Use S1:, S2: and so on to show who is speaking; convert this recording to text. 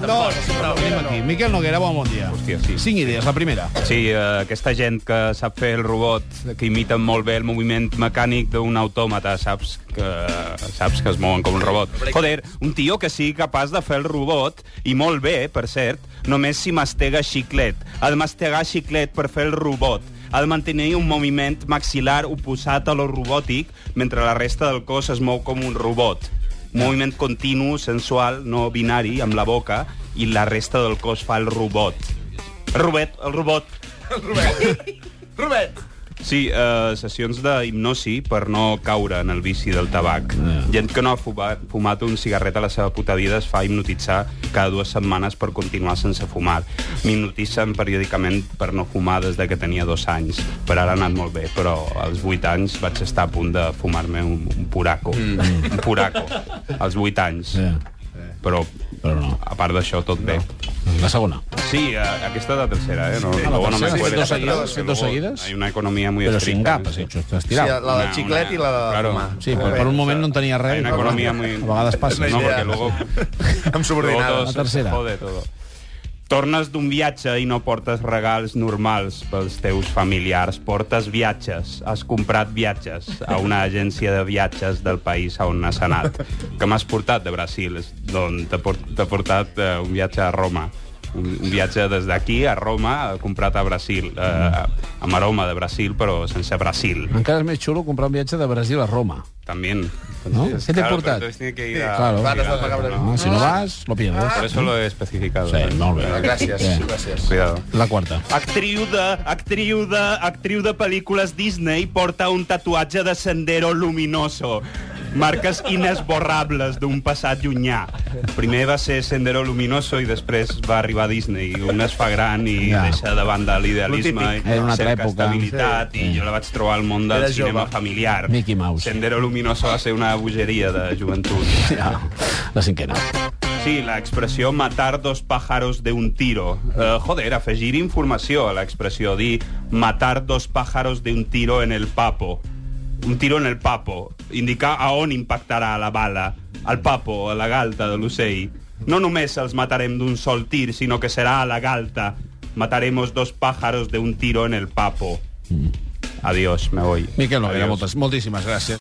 S1: No, no, venim aquí. Miquel Noguera, bon dia.
S2: Hòstia, sí.
S1: Cinc idees, la primera.
S2: Sí, eh, aquesta gent que sap fer el robot, que imita molt bé el moviment mecànic d'un autòmata, saps que saps que es mouen com un robot. Joder, un tio que sigui capaç de fer el robot, i molt bé, per cert, només si mastega xiclet. Ha de mastegar xiclet per fer el robot. Ha de mantenir un moviment maxilar oposat a lo robòtic, mentre la resta del cos es mou com un robot. Moviment continu, sensual, no binari, amb la boca, i la resta del cos fa el robot. El robot, el robot, Sí, eh, sessions d'hipnosi per no caure en el vici del tabac. Gent que no ha fumat, fumat un cigarret a la seva puta vida es fa hipnotitzar cada dues setmanes per continuar sense fumar. M'hipnotitzen periòdicament per no fumar des de que tenia dos anys. Per ara ha anat molt bé, però als vuit anys vaig estar a punt de fumar-me un, un puraco. Mm. Un puraco. Als vuit anys.
S1: Yeah.
S2: Però,
S1: Però no.
S2: a part d'això, tot bé.
S1: La segona.
S2: Sí, eh, aquesta és la tercera, eh? No,
S1: la
S2: luego no me
S1: tercera, sí,
S2: cuelgues
S1: dos seguidas,
S2: atrás, que
S1: sí, dos
S2: luego
S1: seguidas.
S2: Hay una economía muy
S1: Però
S2: estricta. ¿eh?
S1: cinc cap,
S3: eh,
S1: has hecho, t'has
S4: Sí,
S1: tirat.
S4: la de
S2: Una-
S4: xiclet
S2: una-
S4: i la de
S2: claro.
S4: fumar.
S1: Sí, però per un moment no en tenia res.
S2: Hay una economía muy...
S1: eh, A vegades passa.
S4: Una
S2: No,
S4: idea.
S2: porque luego...
S4: Amb
S2: luego
S4: subordinades.
S2: todo
S1: La tercera.
S2: se Jode todo. Tornes d'un viatge i no portes regals normals pels teus familiars. Portes viatges. Has comprat viatges a una agència de viatges del país a on has anat. Que m'has portat de Brasil, és d'on t'he por- t'he portat eh, un viatge a Roma. Un, un viatge des d'aquí a Roma, eh, comprat a Brasil. Eh, amb aroma de Brasil, però sense Brasil.
S3: Encara és més xulo comprar un viatge de Brasil a Roma.
S2: També.
S3: No? Què t'he portat?
S2: Entonces tiene que ir a...
S3: Claro.
S4: Rates del macabre.
S3: No, Ah, si no vas, lo pierdes.
S2: Por eso lo he especificado.
S3: Sí, molt bé.
S4: Gràcies,
S3: Bien.
S4: gràcies.
S2: Cuidado.
S3: La quarta.
S2: Actriu de, actriu de, actriu de pel·lícules Disney porta un tatuatge de sendero luminoso. Marques inesborrables d'un passat llunyà. Primer va ser Sendero Luminoso i després va arribar a Disney. Un es fa gran i
S3: Ja.
S2: ja. deixa de banda
S4: Lo
S2: l'idealisme i
S4: típic.
S3: Era una altra
S2: cerca
S3: època.
S2: estabilitat sí. i jo la vaig trobar al món del
S4: Era
S2: cinema
S4: jove.
S2: familiar.
S3: Mickey Mouse.
S2: Sendero Luminoso va ser una bogeria de joventut.
S3: Ja. La cinquena.
S2: Sí, la expressió matar dos pájaros de un tiro. Eh, joder, afegir informació a l'expressió, dir matar dos pájaros de un tiro en el papo. Un tiro en el papo. Indicar a on impactarà la bala. Al papo, a la galta de l'ocell. No només els matarem d'un sol tir, sinó que serà a la galta. Mataremos dos pájaros de un tiro en el papo. Adiós, me voy.
S3: Mm. Miquel Noguera,
S2: Adiós.
S3: moltes, moltíssimes gràcies.